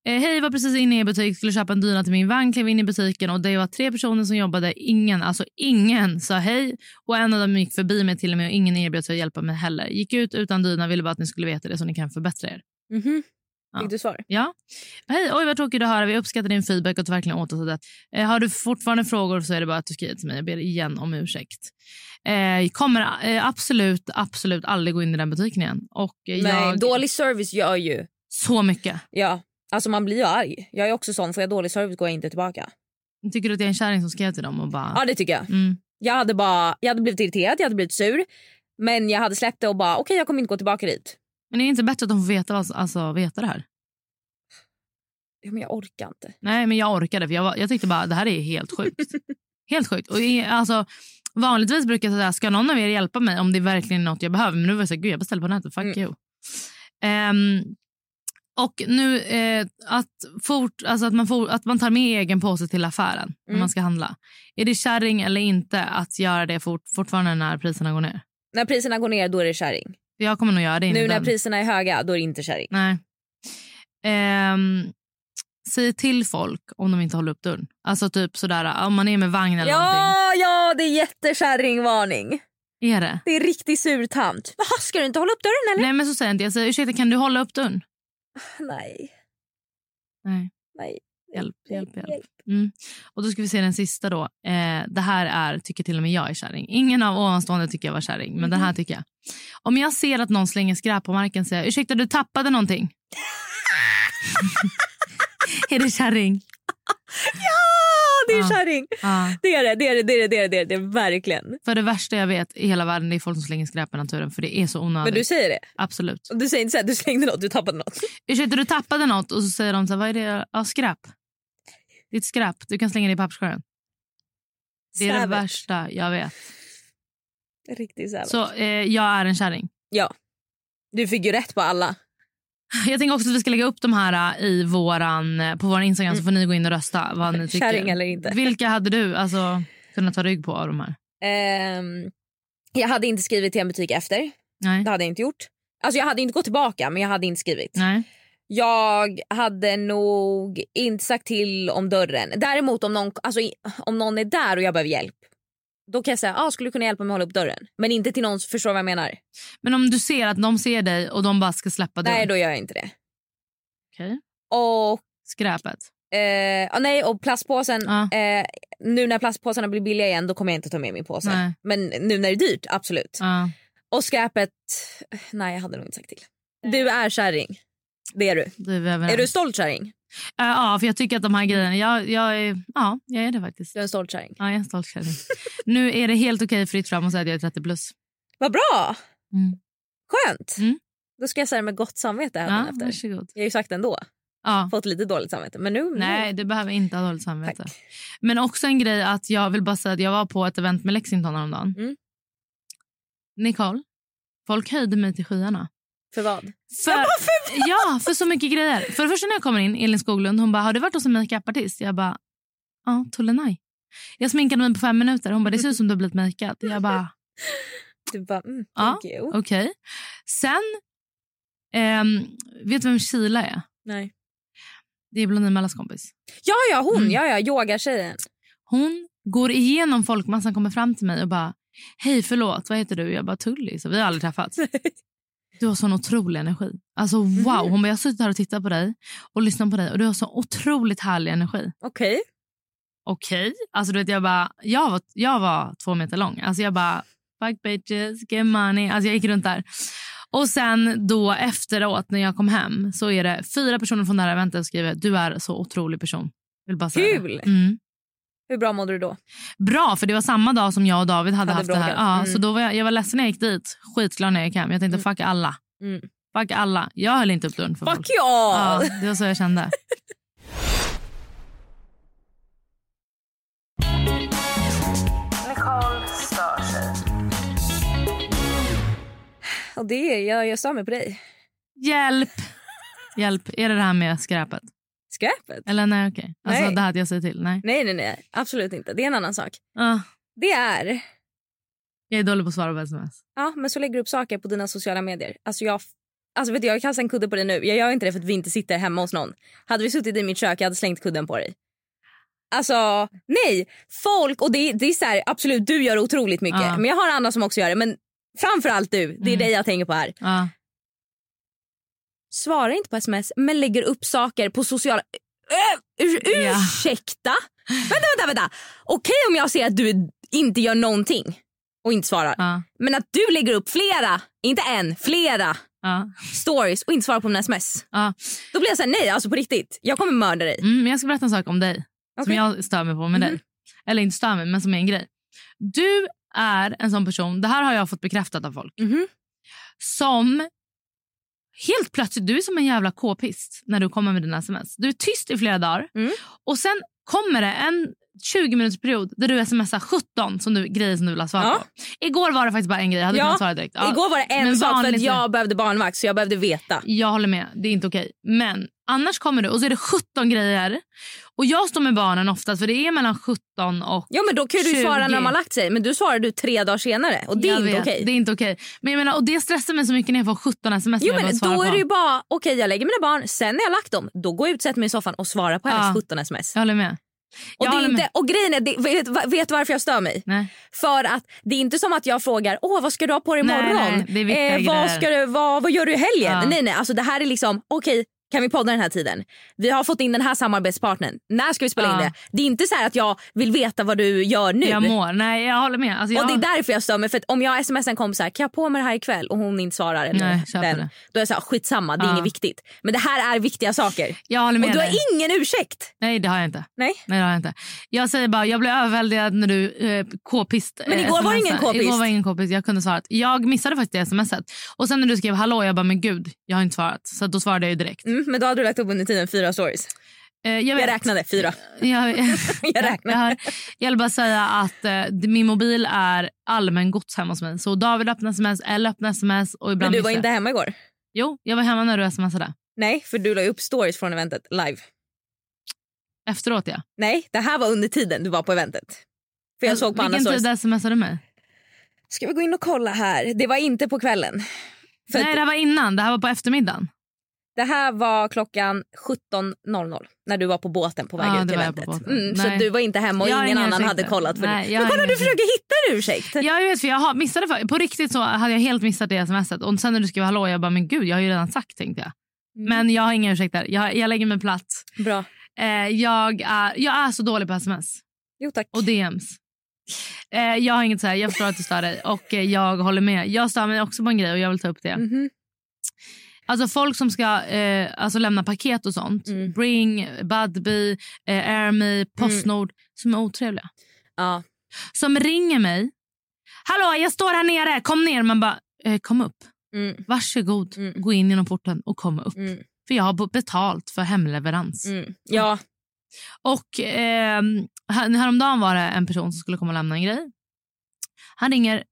Eh, Hej var precis inne i butik, skulle köpa en dyna till min vagn, klev in i butiken och det var tre personer som jobbade. Ingen, alltså ingen, sa hej och en av dem gick förbi mig till och med och ingen erbjöd sig att hjälpa mig heller. Gick ut utan dyna, ville bara att ni skulle veta det så ni kan förbättra er. Mhm. Ja. Fick du svar? Ja. Hej, oj vad tråkigt att höra. Vi uppskattar din feedback och tar verkligen åt oss av det. Eh, har du fortfarande frågor så är det bara att du skriver till mig. Jag ber igen om ursäkt. Eh, kommer eh, absolut, absolut aldrig gå in i den butiken igen. Och eh, Nej, jag... dålig service gör ju... Så mycket. Ja, alltså man blir ju arg. Jag är också sån, får jag dålig service går jag inte tillbaka. Tycker du att jag är en kärring som skrev till dem och bara... Ja, det tycker jag. Mm. Jag hade, bara, jag hade blivit irriterad, jag hade blivit sur. Men jag hade släppt det och bara okej jag kommer inte gå tillbaka dit. Men är det inte bättre att de får veta, vad- alltså, veta det här? Ja, men jag orkar inte. Nej, men jag orkade. För jag, var, jag tyckte bara det här är helt sjukt. helt sjukt. Och, i- alltså, vanligtvis brukar jag säga ska någon av er hjälpa mig om det verkligen är något jag behöver. Men nu var jag så här, gud jag beställer på nätet. Fuck Mm. you. Ehm, och nu eh, att, fort, alltså att, man for, att man tar med egen påse till affären när Mm. man ska handla. Är det kärring eller inte att göra det fort, fortfarande när priserna går ner? När priserna går ner då är det kärring. Jag kommer nog göra det. in i Nu när den. priserna är höga då är det inte kärring. Nej. Ehm, säg till folk om de inte håller upp dörren. Alltså typ sådär om man är med vagn eller någonting. Ja, ja det är jättekärringvarning. Är det? Det är riktigt surtant. Jaha, ska du inte hålla upp dörren eller? Nej men så säger jag inte. Jag säger ursäkta kan du hålla upp dörren? Nej. Nej. Nej. Hjälp, hjälp, hjälp. Mm. Och då ska vi se den sista då. Eh, det här är, tycker till och med jag är kärring. Ingen av ovanstående tycker jag var kärring, men den här tycker jag. Om jag ser att någon slänger skräp på marken säger jag ursäkta du tappade någonting. är det kärring? Ja, det Ja. är kärring. Ja. Det är det, det är det, det är det, det är det, det, är det verkligen. För det värsta jag vet i hela världen det är folk som slänger skräp i naturen för det är så onödigt. Men du säger det. Absolut. Och Du säger inte så här, du slängde något, du tappade något. Ursäkta, du tappade något. Och så säger de så här, vad är det? Ja, skräp. Det är ett skräp. Du kan slänga det i papperskorgen. Det är det Savage. värsta jag vet. Riktigt savage. Så eh, jag är en kärring. Du fick ju rätt på alla. Jag tänker också att vi ska lägga upp de här eh, i våran, eh, på vår Instagram Mm. så får ni gå in och rösta vad ni tycker. Kärring eller inte. Vilka hade du alltså, kunnat ta rygg på av de här? Ehm, jag hade inte skrivit till en butik efter. Nej. Det hade jag inte gjort. Alltså jag hade inte gått tillbaka men jag hade inte skrivit. Nej. Jag hade nog inte sagt till om dörren. Däremot om någon, alltså, i- om någon är där och jag behöver hjälp. Då kan jag säga, ah, skulle du kunna hjälpa mig att hålla upp dörren? Men inte till någon, förstår du vad jag menar? Men om du ser att de ser dig och de bara ska släppa Nej dörren. då gör jag inte det. Okej. Och Skräpet. Eh, ah, nej, och plastpåsen. Ja. Eh, nu när plastpåsarna blir billiga igen då kommer jag inte ta med min påse. Nej. Ah. Men nu när det är dyrt, absolut. Ja. Och skräpet, nej jag hade nog inte sagt till. Du är kärring. Det är du. då är vi överens. Är du stolt kärring? Eh, Ja, för jag tycker att de här grejerna... Jag, jag, är, ja, jag är det faktiskt. Du är en stolt kärring. Ja, jag är en stolt kärring. nu är det helt okej fritt fram att säga att jag är 30 plus. Vad bra! Mm. Skönt! Mm. Då ska jag säga det med gott samvete här Ja, efter. varsågod. Jag har ju sagt det ändå. Ja. Fått lite dåligt samvete. Men nu... Nej, du behöver inte ha dåligt samvete. Tack. Men också en grej att jag vill bara säga att jag var på ett event med Lexington häromdagen. Mm. Nicole, folk höjde mig till skyarna. För vad? För, ja, för så mycket grejer. För det första när jag kommer in, Elin Skoglund, hon bara, har du varit hos en makeupartist? Jag bara, ja, Tolenai. Jag sminkade mig på fem minuter. Hon bara, det ser ut som du har blivit makead. Jag bara, Du bara, mm, thank you. Okej. Sen... ehm, vet du vem Sheila är? Nej. Det är Blondinbellas kompis. Ja, ja, hon. Mm. Ja, ja, yogatjejen. Hon går igenom folkmassan, kommer fram till mig och bara Hej, förlåt, vad heter du? Jag bara Tully. Så vi har aldrig träffats. Du har sån otrolig energi. Alltså wow. Hon bara, jag har suttit här och tittat på dig och lyssnat på dig och du har så otroligt härlig energi. Okej. Okej. Alltså du vet, jag bara, jag var, jag var två meter lång. Alltså jag bara, fuck bitches, get money. Alltså jag gick runt där. Och sen då efteråt när jag kom hem så är det fyra personer från det här eventet som skriver du är så otrolig person. Vill bara säga det. Kul! Mm. Hur bra mådde du då? Bra, för det var samma dag som jag och David hade, Hade haft det här. bråkat. Ja, Mm. Så då var jag, jag var ledsen när jag gick dit. Skitglad när jag gick hem. Jag tänkte fuck alla. Mm. Fuck alla. Jag höll inte upp dörren för folk. Fuck you all! Ja, det var så jag kände. Och det är, jag, jag stör mig på dig. Hjälp! Hjälp. Är det det här med skräpet? Skräpet? Eller nej, okej. Alltså Nej. det här att jag säger till. Nej. Nej, nej, nej. Absolut inte. Det är en annan sak. Ah, Det är Jag är dålig på att svara på sms. Ja, men så lägger du upp saker på dina sociala medier. Alltså jag, alltså vet du, jag kastar en kudde på dig nu. Jag gör inte det för att vi inte sitter hemma hos någon. Hade vi suttit i mitt kök, jag hade slängt kudden på dig. Alltså, nej! Folk, och det, det är så här, absolut du gör otroligt mycket. Ja. Men jag har andra som också gör det. Men framförallt du, det är Mm. dig jag tänker på här. Ja. Svarar inte på sms, men lägger upp saker på sociala... Ö, ur, Ja. ursäkta? Vänta, vänta, vänta. Okej om jag ser att du inte gör någonting och inte svarar. Ja. Men att du lägger upp flera, inte en, flera Ja. stories och inte svarar på mina sms. Ja. Då blir jag såhär, nej alltså på riktigt. Jag kommer mörda dig. Mm, men jag ska berätta en sak om dig. Som Okej. Mhm. jag stör mig på med dig. Eller inte stör mig, men som är en grej. Du är en sån person, det här har jag fått bekräftat av folk. Mhm. Som helt plötsligt, du är som en jävla k-pist när du kommer med dina sms. Du är tyst i flera dagar Mm. och sen kommer det en 20 minuters period där du smsar 17 som du, grejer som du vill ha svar Ja. på. Igår var det faktiskt bara en grej, jag hade Ja. kunnat svara direkt. Ja. Igår var det en Men sak för att vanligt- jag behövde barnvakt så jag behövde veta. Jag håller med, det är inte okej. Men annars kommer det och så är det 17 grejer. Och jag står med barnen oftast för det är mellan 17 och Ja men då kan ju du 20. svara när de har lagt sig men du svarade du tre dagar senare och det är Jag inte vet, okej. Det är inte okej. Men jag menar, och det stressar mig så mycket när jag får 17 sms. Jo när Alltså, jag men bara svarar då på är det ju dem. bara okej jag lägger mina barn sen när jag lagt dem då går jag ut sätter mig i soffan och svarar på hennes Ja. 17 sms. Jag håller med. Och, jag det är håller inte, med. och grejen är, det, vet, vet varför jag stör mig? Nej. För att det är inte som att jag frågar Åh, vad ska du ha på dig Nej, imorgon? Eh, nej, det är viktiga vad, grejer. ska du, vad, vad gör du i helgen? Ja. Nej, nej, alltså det här är liksom okej. kan vi podda den här tiden? Vi har fått in den här samarbetspartnern. När ska vi spela in Ja. det? Det är inte så här att jag vill veta vad du gör nu. Jag mår. Nej, jag håller med. Alltså, jag... Och det är därför jag stör mig. För att om jag smsar en kompis så här, kan jag på mig det här ikväll? Och hon inte svarar. Eller Nej, köper det. Då är jag så här, skitsamma, det är Ja. inget viktigt. Men det här är viktiga saker. jag håller med Och du dig. har ingen ursäkt. Nej, det har jag inte. Nej. Nej, det har jag inte. Jag säger bara, jag blev överväldigad när du eh, k-pist. eh, Men igår var det ingen smsar. k-pist. Igår var ingen k-pist. Jag kunde svarat. Jag missade faktiskt det smset. Och sen när du skrev hallå, jag bara, men gud, jag har inte svarat. Så då svarade jag ju direkt. Mm, men då hade du lagt upp under tiden fyra stories. Eh, jag, Jag vet. räknade fyra. Jag, Jag räknar. Jag, hör- jag vill bara säga att eh, det- min mobil är allmän gods hemma hos mig. Så David öppnar sms, eller öppnar sms och ibland Men du var missar inte jag. hemma igår? Jo, jag var hemma när du smsade. Nej, för du la ju upp stories från eventet live. Efteråt ja. Nej, det här var under tiden du var på eventet. För jag såg på andra Vilken stories. tid smsade du mig? Ska vi gå in och kolla här? Det var inte på kvällen. För Nej, att det här var innan. Det här var på eftermiddagen. det här var klockan 17.00 när du var på båten på väg Ja, ut det till var jag på eventet. båten. Mm, så Nej. du var inte hemma och Jag har ingen ingen annan ursäkt hade nu. kollat. För Nej, det. jag Men har kolla, du ingen försöker hitta en ursäkt. Jag vet, för jag har missade för, på riktigt så hade jag helt missat det smset. Och sen när du skrev hallå, jag bara men gud, jag har ju redan sagt tänkte jag. Mm. Men jag har inga ursäkter. Jag, jag lägger mig platt. Bra. Eh, jag, är, jag är så dålig på sms. Jo tack. och DMs. Eh, jag har inget att säga, jag förstår att du stör dig och eh, jag håller med. Jag stör mig också på en grej och jag vill ta upp det. Mhm. Alltså folk som ska eh, alltså lämna paket och sånt. Mm. Bring, Budbee, eh, Airme, Postnord. Som är otrevliga. Ja. Som ringer mig. Hallå jag står här nere, kom ner. Man bara, eh, kom upp. Mm. Varsågod, Mm. gå in genom porten och kom upp. Mm. För jag har bo- betalt för hemleverans. Mm. Ja. Och eh, Häromdagen var det en person som skulle komma och lämna en grej. Han ringer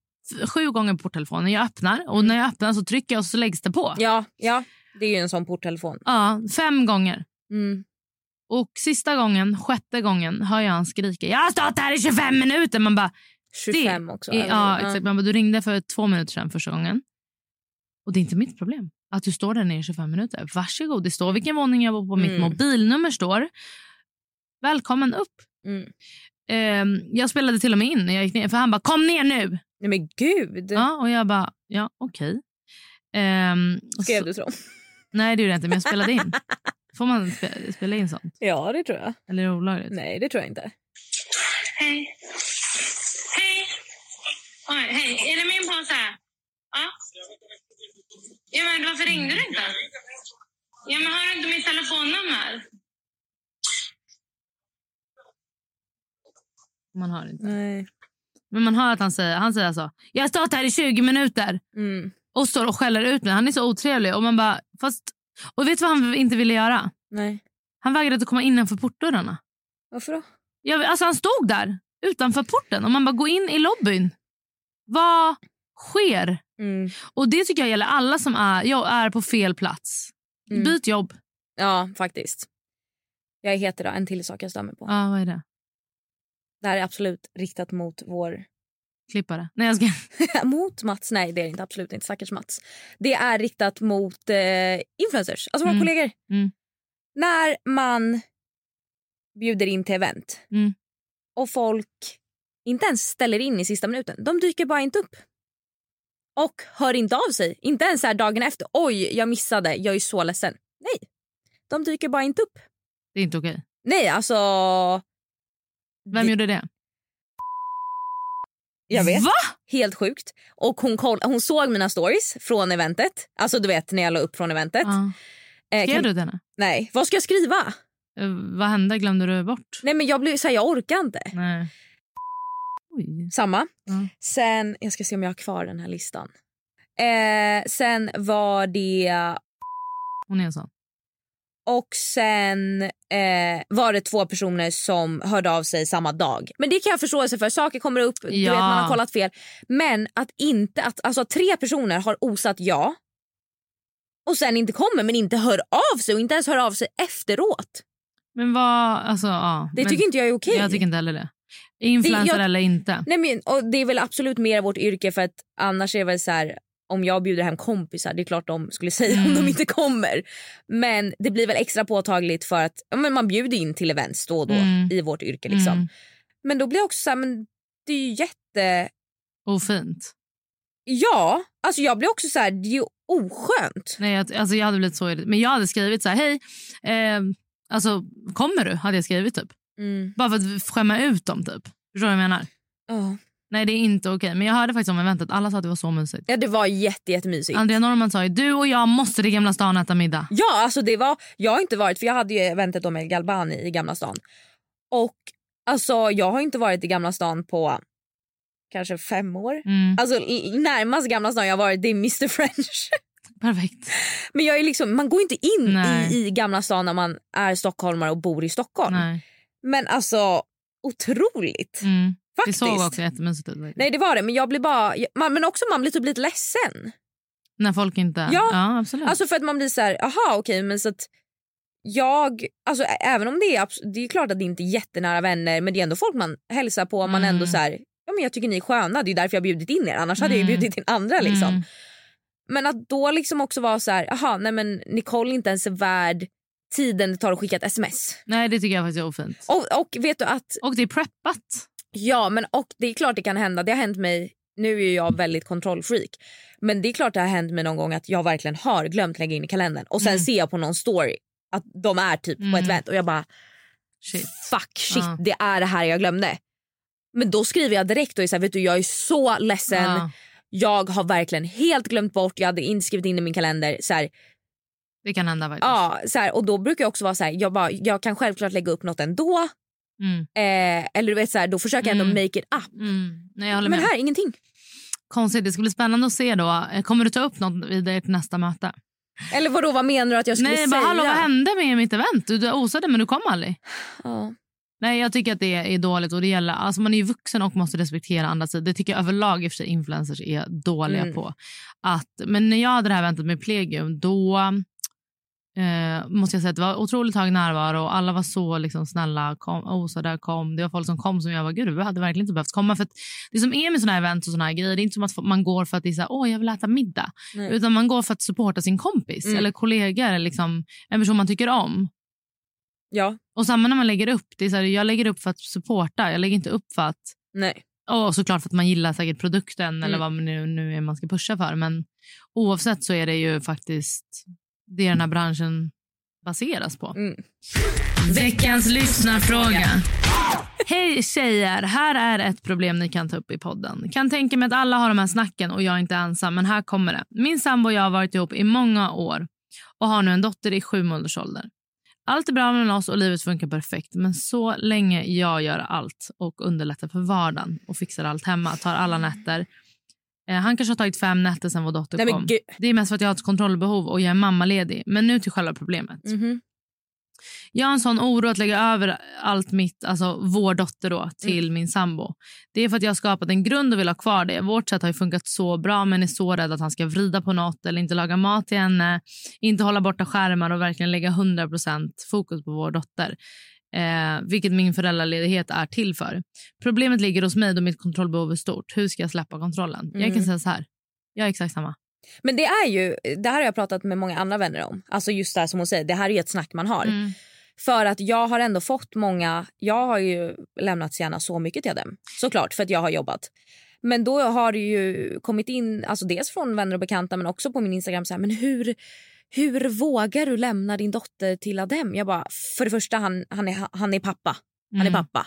f- sju gånger på porttelefonen. Jag öppnar och när jag öppnar så trycker jag och så läggs det på. ja, ja. Det är ju en sån porttelefon. Ja, fem gånger. Mm. Och sista gången, sjätte gången, hör jag han skrika “Jag har stått här i 25 minuter!” Man bara, 25 också. i, eller? ja, exakt. Man bara, du ringde för två minuter sedan första gången. Och det är inte mitt problem att du står där nere i 25 minuter. Varsågod, det står vilken våning jag bor på, mitt Mm. mobilnummer står. Välkommen upp. Mm. Ehm, jag spelade till och med in när jag gick ner, för han bara “kom ner nu!” Nej men gud. ja, och jag bara “ja, okej”. Ehm, Skrev så- du så? Nej, det gjorde jag inte, men jag spelade in. Får man spe- spela in sånt? Ja, det tror jag. Eller är det olagligt? Nej, det tror jag inte. Hej. Hej. Oj, hej. Är det min påse? Ja. Ja, men varför ringde du inte? Ja, men har du inte mitt telefonnummer? Man hör inte. Nej. Men man hör att han säger, han säger alltså “jag har stått här i 20 minuter” Mm. och står och skäller ut mig. Han är så otrevlig. Och man bara, fast... Och vet du vad han inte ville göra? Nej. Han vägrade att komma innanför portdörrarna. Varför då? Jag, alltså han stod där utanför porten och man bara, gå in i lobbyn. Vad sker? Mm. Och det tycker jag gäller alla som är, jag är på fel plats. Mm. Byt jobb. Ja, faktiskt. Jag heter då en till sak jag stämmer på. Ja, vad är det? Det här är absolut riktat mot vår Klippare. Nej, jag ska... mot Mats, nej det är det inte, absolut inte. Stackars Mats. Det är riktat mot eh, influencers, alltså våra Mm. kollegor. Mm. När man bjuder in till event Mm. och folk inte ens ställer in i sista minuten, de dyker bara inte upp. Och hör inte av sig, inte ens så här dagen efter. Oj, jag missade, jag är så ledsen. Nej, de dyker bara inte upp. Det är inte okej. Nej, alltså... Vem Det- gjorde det? Jag vet. Va? Helt sjukt. Och hon, koll, hon såg mina stories från eventet. Alltså du vet när jag la upp från eventet. Ja. Eh, Skrev kan- du till henne? Nej, vad ska jag skriva? Eh, Vad hände? Glömde du bort? Nej men jag blir så här, jag orkar inte. Nej. Oj. Samma. Mm. Sen, jag ska se om jag har kvar den här listan. Eh, sen var det, Hon är en sån. och sen eh, var det två personer som hörde av sig samma dag. Men det kan jag förstå sig för, saker kommer upp, du Ja. vet man har kollat fel. Men att inte, att, alltså att tre personer har osat ja och sen inte kommer men inte hör av sig och inte ens hör av sig efteråt. Men vad... Alltså, ja. Det men, tycker inte jag är okej. Jag tycker inte heller det. Influencer Det- jag- eller inte. Nej, men, och det är väl absolut mer vårt yrke för att annars är det väl så här om jag bjuder hem kompisar, det är klart de skulle säga om Mm. de inte kommer. Men det blir väl extra påtagligt för att ja, men man bjuder in till events då och då Mm. i vårt yrke. Liksom. Mm. Men då blir jag också så här, men det är ju jätte... Ofint. Ja, alltså jag blir också så här, det är ju oskönt. Nej, jag, alltså jag hade blivit så irriterad. Men jag hade skrivit så här, hej, eh, alltså kommer du? Hade jag skrivit typ. Mm. Bara för att skämma ut dem typ. Förstår du vad jag menar? Ja. Nej det är inte okej. Men jag hörde faktiskt om eventet, alla sa att det var så mysigt. Ja, det var jätte, jättemysigt. Andrea Norman sa ju, du och jag måste till Gamla stan och äta middag. Ja, alltså det var, jag har inte varit, för jag hade ju eventet om El Galbani i Gamla stan. Och alltså jag har inte varit i Gamla stan på kanske fem år. Mm, Alltså i- närmast Gamla stan jag har varit det är Mr French. perfekt. Men jag är liksom, man går inte in Nej. i, i Gamla stan när man är stockholmare och bor i Stockholm. Nej. Men alltså otroligt Mm. Det faktiskt. såg också jättemysigt ut. faktiskt. Nej det var det men jag blir bara, jag- man, men också man blir typ lite ledsen. När folk inte... Ja. absolut. Alltså för att man blir så här, aha okej men så att jag, alltså ä- även om det är, abs- det är klart att det inte är jättenära vänner men det är ändå folk man hälsar på man Mm. ändå så här, ja men jag tycker ni är sköna det är därför jag har bjudit in er annars hade jag ju Mm. bjudit in andra liksom. Mm. Men att då liksom också vara så här, aha nej men Nicole är inte ens är värd tiden det tar att skicka ett sms. Nej det tycker jag faktiskt är ofint. Och, och vet du att, Och det är preppat. ja men och det är klart det kan hända, det har hänt mig nu är ju jag väldigt kontrollfreak. Men det är klart det har hänt mig någon gång att jag verkligen har glömt lägga in i kalendern. Och sen Mm. ser jag på någon story att de är typ på Mm. ett event och jag bara Shit. fuck shit Ja. det är det här jag glömde. Men då skriver jag direkt och är så här, vet du jag är så ledsen. Ja, Jag har verkligen helt glömt bort, jag hade inte skrivit in i min kalender. Så här, det kan hända faktiskt. ja, så här, och då brukar jag också vara så här, jag, bara, jag kan självklart lägga upp något ändå. Mm. Eh, eller du vet så här, då försöker jag ändå Mm. make it up. Mm. Nej, jag håller Men med. här ingenting. Konstigt, det ska bli spännande att se då. Eh, Kommer du ta upp något vid ert nästa möte? Eller vadå vad menar du att jag skulle Nej, säga? bara hallå vad hände med mitt event? Du, du osade men du kom aldrig. Ja. Nej, jag tycker att det är dåligt. och det gäller, alltså Man är ju vuxen och måste respektera andra sidor. Det tycker jag överlag i och för sig influencers är dåliga Mm. på. Att, men när jag hade det här eventet med Plegium, då eh, måste jag säga att det var otroligt hög närvaro och alla var så liksom, snälla. Kom, oh, så där kom. Det var folk som kom som jag var gud, du hade verkligen inte behövt komma. För att det som är med såna här event och såna här grejer, det är inte som att man går för att det är så här, åh jag vill äta middag. Nej. Utan man går för att supporta sin kompis Mm. eller kollega eller liksom, en person man tycker om. Ja, Och samma när man lägger upp. Det är så här, jag lägger upp för att supporta. Jag lägger inte upp för att... nej. Och såklart för att man gillar säkert produkten eller Mm. vad man nu, nu är man ska pusha för. Men oavsett så är det ju faktiskt det den här branschen baseras på. Mm. Veckans lyssnarfråga. Hej tjejer, här är ett problem ni kan ta upp i podden. Kan tänka mig att alla har de här snacken och jag är inte ensam, men här kommer det. Min sambo och jag har varit ihop i många år och har nu en dotter i sju månaders ålder. Allt är bra mellan oss och livet funkar perfekt. Men så länge jag gör allt och underlättar för vardagen och fixar allt hemma, tar alla nätter. Eh, han kanske har tagit fem nätter sen vår dotter nej kom. men gud. Det är mest för att jag har ett kontrollbehov och jag är mammaledig. Men nu till själva problemet. Mhm. Jag har en sån oro att lägga över allt mitt, alltså vår dotter då, till Mm. min sambo. Det är för att jag har skapat en grund och vill ha kvar det. Vårt sätt har ju funkat så bra men är så rädd att han ska vrida på något eller inte laga mat till henne, inte hålla borta skärmar och verkligen lägga 100% fokus på vår dotter. Eh, vilket min föräldraledighet är till för. Problemet ligger hos mig då mitt kontrollbehov är stort. Hur ska jag släppa kontrollen? Jag kan Mm. säga så här. Jag är exakt samma. Men det är ju, det här har jag pratat med många andra vänner om. Alltså just det här som hon säger, det här är ju ett snack man har. Mm. För att jag har ändå fått många, jag har ju lämnat Sienna så mycket till dem. Såklart, för att jag har jobbat. Men då har det ju kommit in, alltså dels från vänner och bekanta men också på min Instagram så här, men hur, hur vågar du lämna din dotter till Adem? Jag bara, för det första han, han, är, han är pappa. Han är Mm. pappa.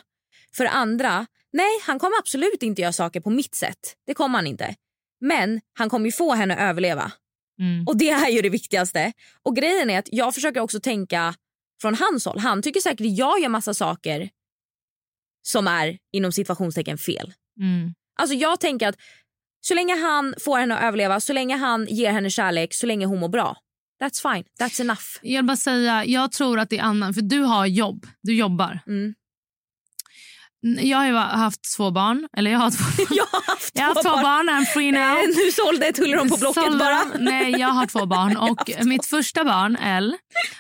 För det andra, nej han kommer absolut inte göra saker på mitt sätt. Det kommer han inte. Men han kommer ju få henne att överleva. Mm. Och det är ju det viktigaste. Och grejen är att jag försöker också tänka från hans håll. Han tycker säkert att jag gör massa saker som är inom situationstecken fel. Mm. Alltså jag tänker att så länge han får henne att överleva, så länge han ger henne kärlek, så länge hon mår bra. That's fine, that's enough. Jag vill bara säga, jag tror att det är annan, för du har jobb, du jobbar. Mm. N- Jag har ju haft två barn, eller jag har två barn. Jag har haft Jag har haft två barn, I'm free now. Eh, Nu sålde ett huller om på Blocket Sålde bara. dem. Nej, jag har två barn. Och Mitt första barn, L,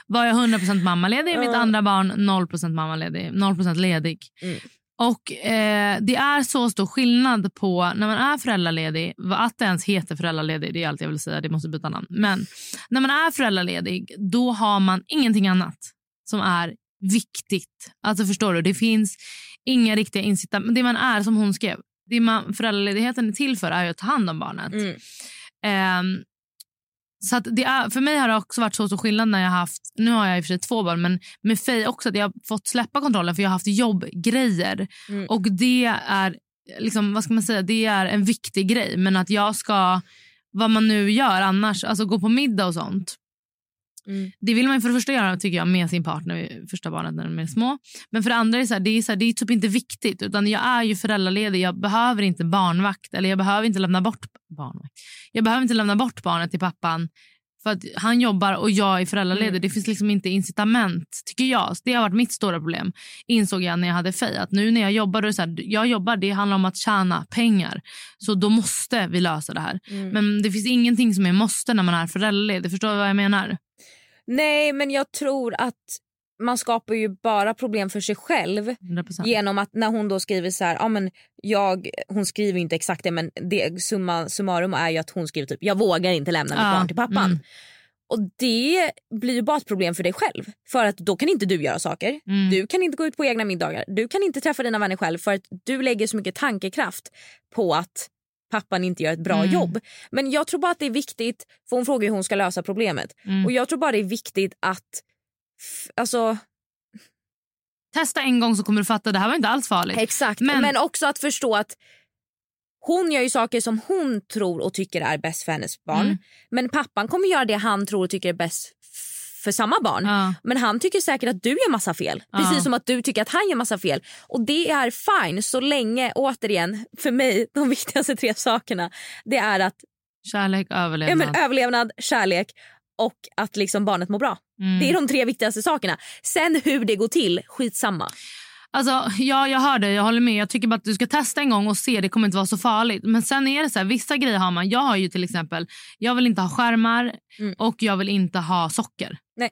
var jag 100% mammaledig. Mitt andra barn, 0% mammaledig. 0% ledig. Mm. Och eh, Det är så stor skillnad på när man är föräldraledig. vad- Att det ens heter föräldraledig, det är allt jag vill säga. Det måste byta namn. Men när man är föräldraledig, då har man ingenting annat som är viktigt. Alltså förstår du, det finns inga riktiga incitament. Det man är, som hon skrev, det man föräldraledigheten är till för är ju att ta hand om barnet. Mm. Ehm, så att det är, för mig har det också varit så stor skillnad när jag har haft, nu har jag i och för sig två barn, men med Faye också att jag har fått släppa kontrollen för jag har haft jobbgrejer. Mm. Och det är, liksom, vad ska man säga, det är en viktig grej. Men att jag ska, vad man nu gör annars, alltså gå på middag och sånt. Mm. Det vill man ju för det första göra tycker jag med sin partner, första barnet när de är små. Men för det andra är det, så här, det, är så här, det är typ inte viktigt. Utan jag är ju föräldraledig, jag behöver inte barnvakt. Eller jag behöver inte lämna bort barnvakt. Jag behöver inte lämna bort barnet till pappan. För att han jobbar och jag är föräldraledig. Mm. Det finns liksom inte incitament tycker jag. Så det har varit mitt stora problem. Insåg jag när jag hade Faye. Att nu när jag jobbar, då är det så här, jag jobbar, det handlar om att tjäna pengar. Så då måste vi lösa det här. Mm. Men det finns ingenting som är måste när man är föräldraledig. Förstår du vad jag menar? Nej, men jag tror att man skapar ju bara problem för sig själv 100%. Genom att när hon då skriver så här, ja men jag, hon skriver ju inte exakt det men det, summa summarum är ju att hon skriver typ jag vågar inte lämna mitt Ja, barn till pappan. mm. Och det blir ju bara ett problem för dig själv. För att då kan inte du göra saker. Mm. Du kan inte gå ut på egna middagar. Du kan inte träffa dina vänner själv för att du lägger så mycket tankekraft på att pappan inte gör ett bra Mm. jobb. Men jag tror bara att det är viktigt, för hon frågar hur hon ska lösa problemet. Mm. Och jag tror bara det är viktigt att, f- alltså Testa en gång så kommer du fatta. Det här var inte alls farligt. Exakt, men, Men- också att förstå att hon gör ju saker som hon tror och tycker är bäst för hennes barn. Mm. Men pappan kommer göra det han tror och tycker är bäst f- för samma barn. Ja. Men han tycker säkert att du gör massa fel. Ja. Precis som att du tycker att han gör massa fel. Och det är fine så länge, återigen, för mig de viktigaste tre sakerna det är att Kärlek, ja, överlevnad. men, överlevnad, kärlek och att liksom barnet mår bra. mm. Det är de tre viktigaste sakerna. Sen hur det går till, skitsamma. Alltså, ja, jag hör dig. Jag håller med. Jag tycker bara att du ska testa en gång och se. Det kommer inte vara så farligt. Men sen är det så här, vissa grejer har man. Jag har ju till exempel, jag vill inte ha skärmar Mm. och jag vill inte ha socker. Nej.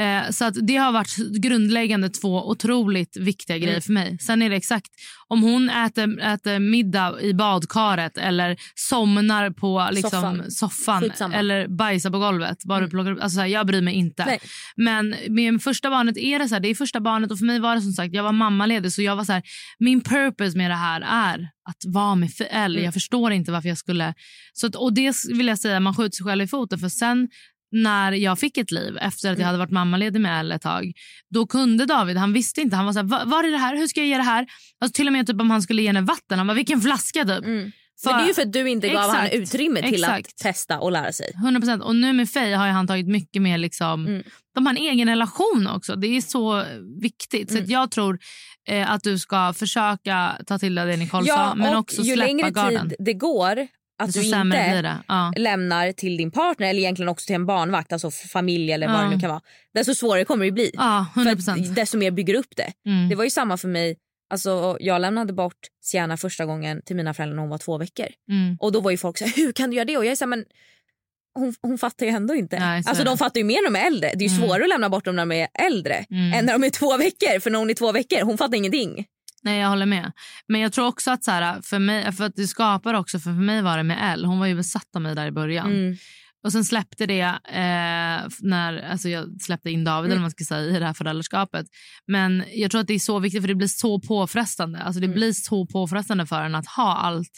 Eh, så att det har varit grundläggande två otroligt viktiga grejer Mm. för mig. Sen är det exakt om hon äter, äter middag i badkaret eller somnar på liksom, Soffan. soffan, Skitsamma. eller bajsar på golvet. Bara Mm. plockar upp. Alltså, så här, jag bryr mig inte. Nej. Men med första barnet är det så här, det är första barnet och för mig var det som sagt, jag var mammaledig så jag var så här, min purpose med det här är att vara med för L. Mm. Jag förstår inte varför jag skulle, så att, och det vill jag säga, man skjuter sig själv i foten för sen när jag fick ett liv efter Mm. att jag hade varit mammaledig med Elle ett tag då kunde David, han visste inte, han var så här, "Va- var är det här, hur ska jag ge det här? Alltså till och med typ om han skulle ge henne vatten, han bara vilken flaska typ. Mm. För- Men det är ju för att du inte gav Exakt. han utrymme till att Exakt. testa och lära sig. 100 Och nu med Faye har ju han tagit mycket mer... Liksom, Mm. De har en egen relation också. Det är så viktigt. Så Mm. att jag tror eh, att du ska försöka ta till dig det Nicole sa, men och också ju släppa längre garden. Alltså, tid det går att Desto du sämre blir inte det. Ja. lämnar till din partner eller egentligen också till en barnvakt, alltså familj eller vad Ja. det nu kan vara, desto svårare kommer det bli. ja, 100 För att desto mer bygger upp det. Mm. Det var ju samma för mig, alltså, jag lämnade bort Sienna första gången till mina föräldrar när hon var två veckor. Mm. Och då var ju folk så här, hur kan du göra det? Och jag är så här, men hon, hon fattar ju ändå inte. Nej, så alltså är det. de fattar ju mer när de är äldre. Det är ju Mm. svårare att lämna bort dem när de är äldre Mm. än när de är två veckor. För när hon är två veckor, hon fattar ingenting. Nej, jag håller med. Men jag tror också att så här, för mig, för att det skapar också, för, för mig var det med Elle, hon var ju besatt av mig där i början. Mm. Och sen släppte det eh, när alltså jag släppte in David eller vad man ska säga i det här föräldraskapet. Men jag tror att det är så viktigt för det blir så påfrestande. Alltså det blir så påfrestande för en att ha allt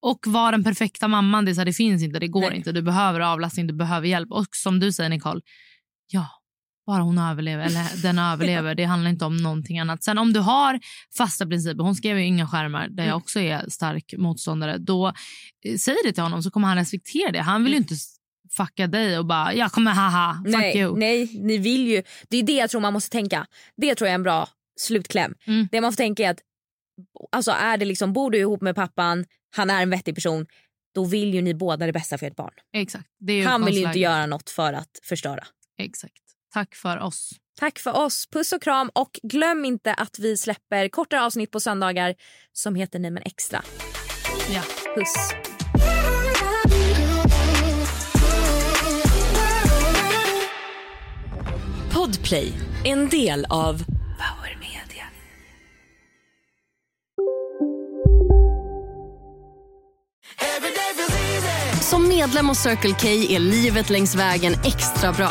och vara den perfekta mamman. Det, är så här, det finns inte, det går Nej. inte. Du behöver avlastning, du behöver hjälp. Och som du säger Nicole, ja, bara hon överlever eller den överlever. Det handlar inte om någonting annat. Sen om du har fasta principer, hon skrev ju inga skärmar där jag Mm. också är stark motståndare. Då eh, säger det till honom så kommer han respektera det. Han vill ju inte s- fucka dig och bara jag kommer haha, fuck Mm. Nej, you. nej, ni vill ju. Det är det jag tror man måste tänka. Det tror jag är en bra slutkläm. Mm. Det man får tänka är att alltså är det liksom, bor du ihop med pappan, han är en vettig person, då vill ju ni båda det bästa för ert barn. Exakt. Det är ju Han vill ju inte utgångsläget. göra något för att förstöra. Exakt. Tack för oss. Tack för oss. Puss och kram. Och glöm inte att vi släpper kortare avsnitt på söndagar som heter Nej men extra. Ja. Puss. Podplay, en del av Power Media. Som medlem hos Circle K är livet längs vägen extra bra.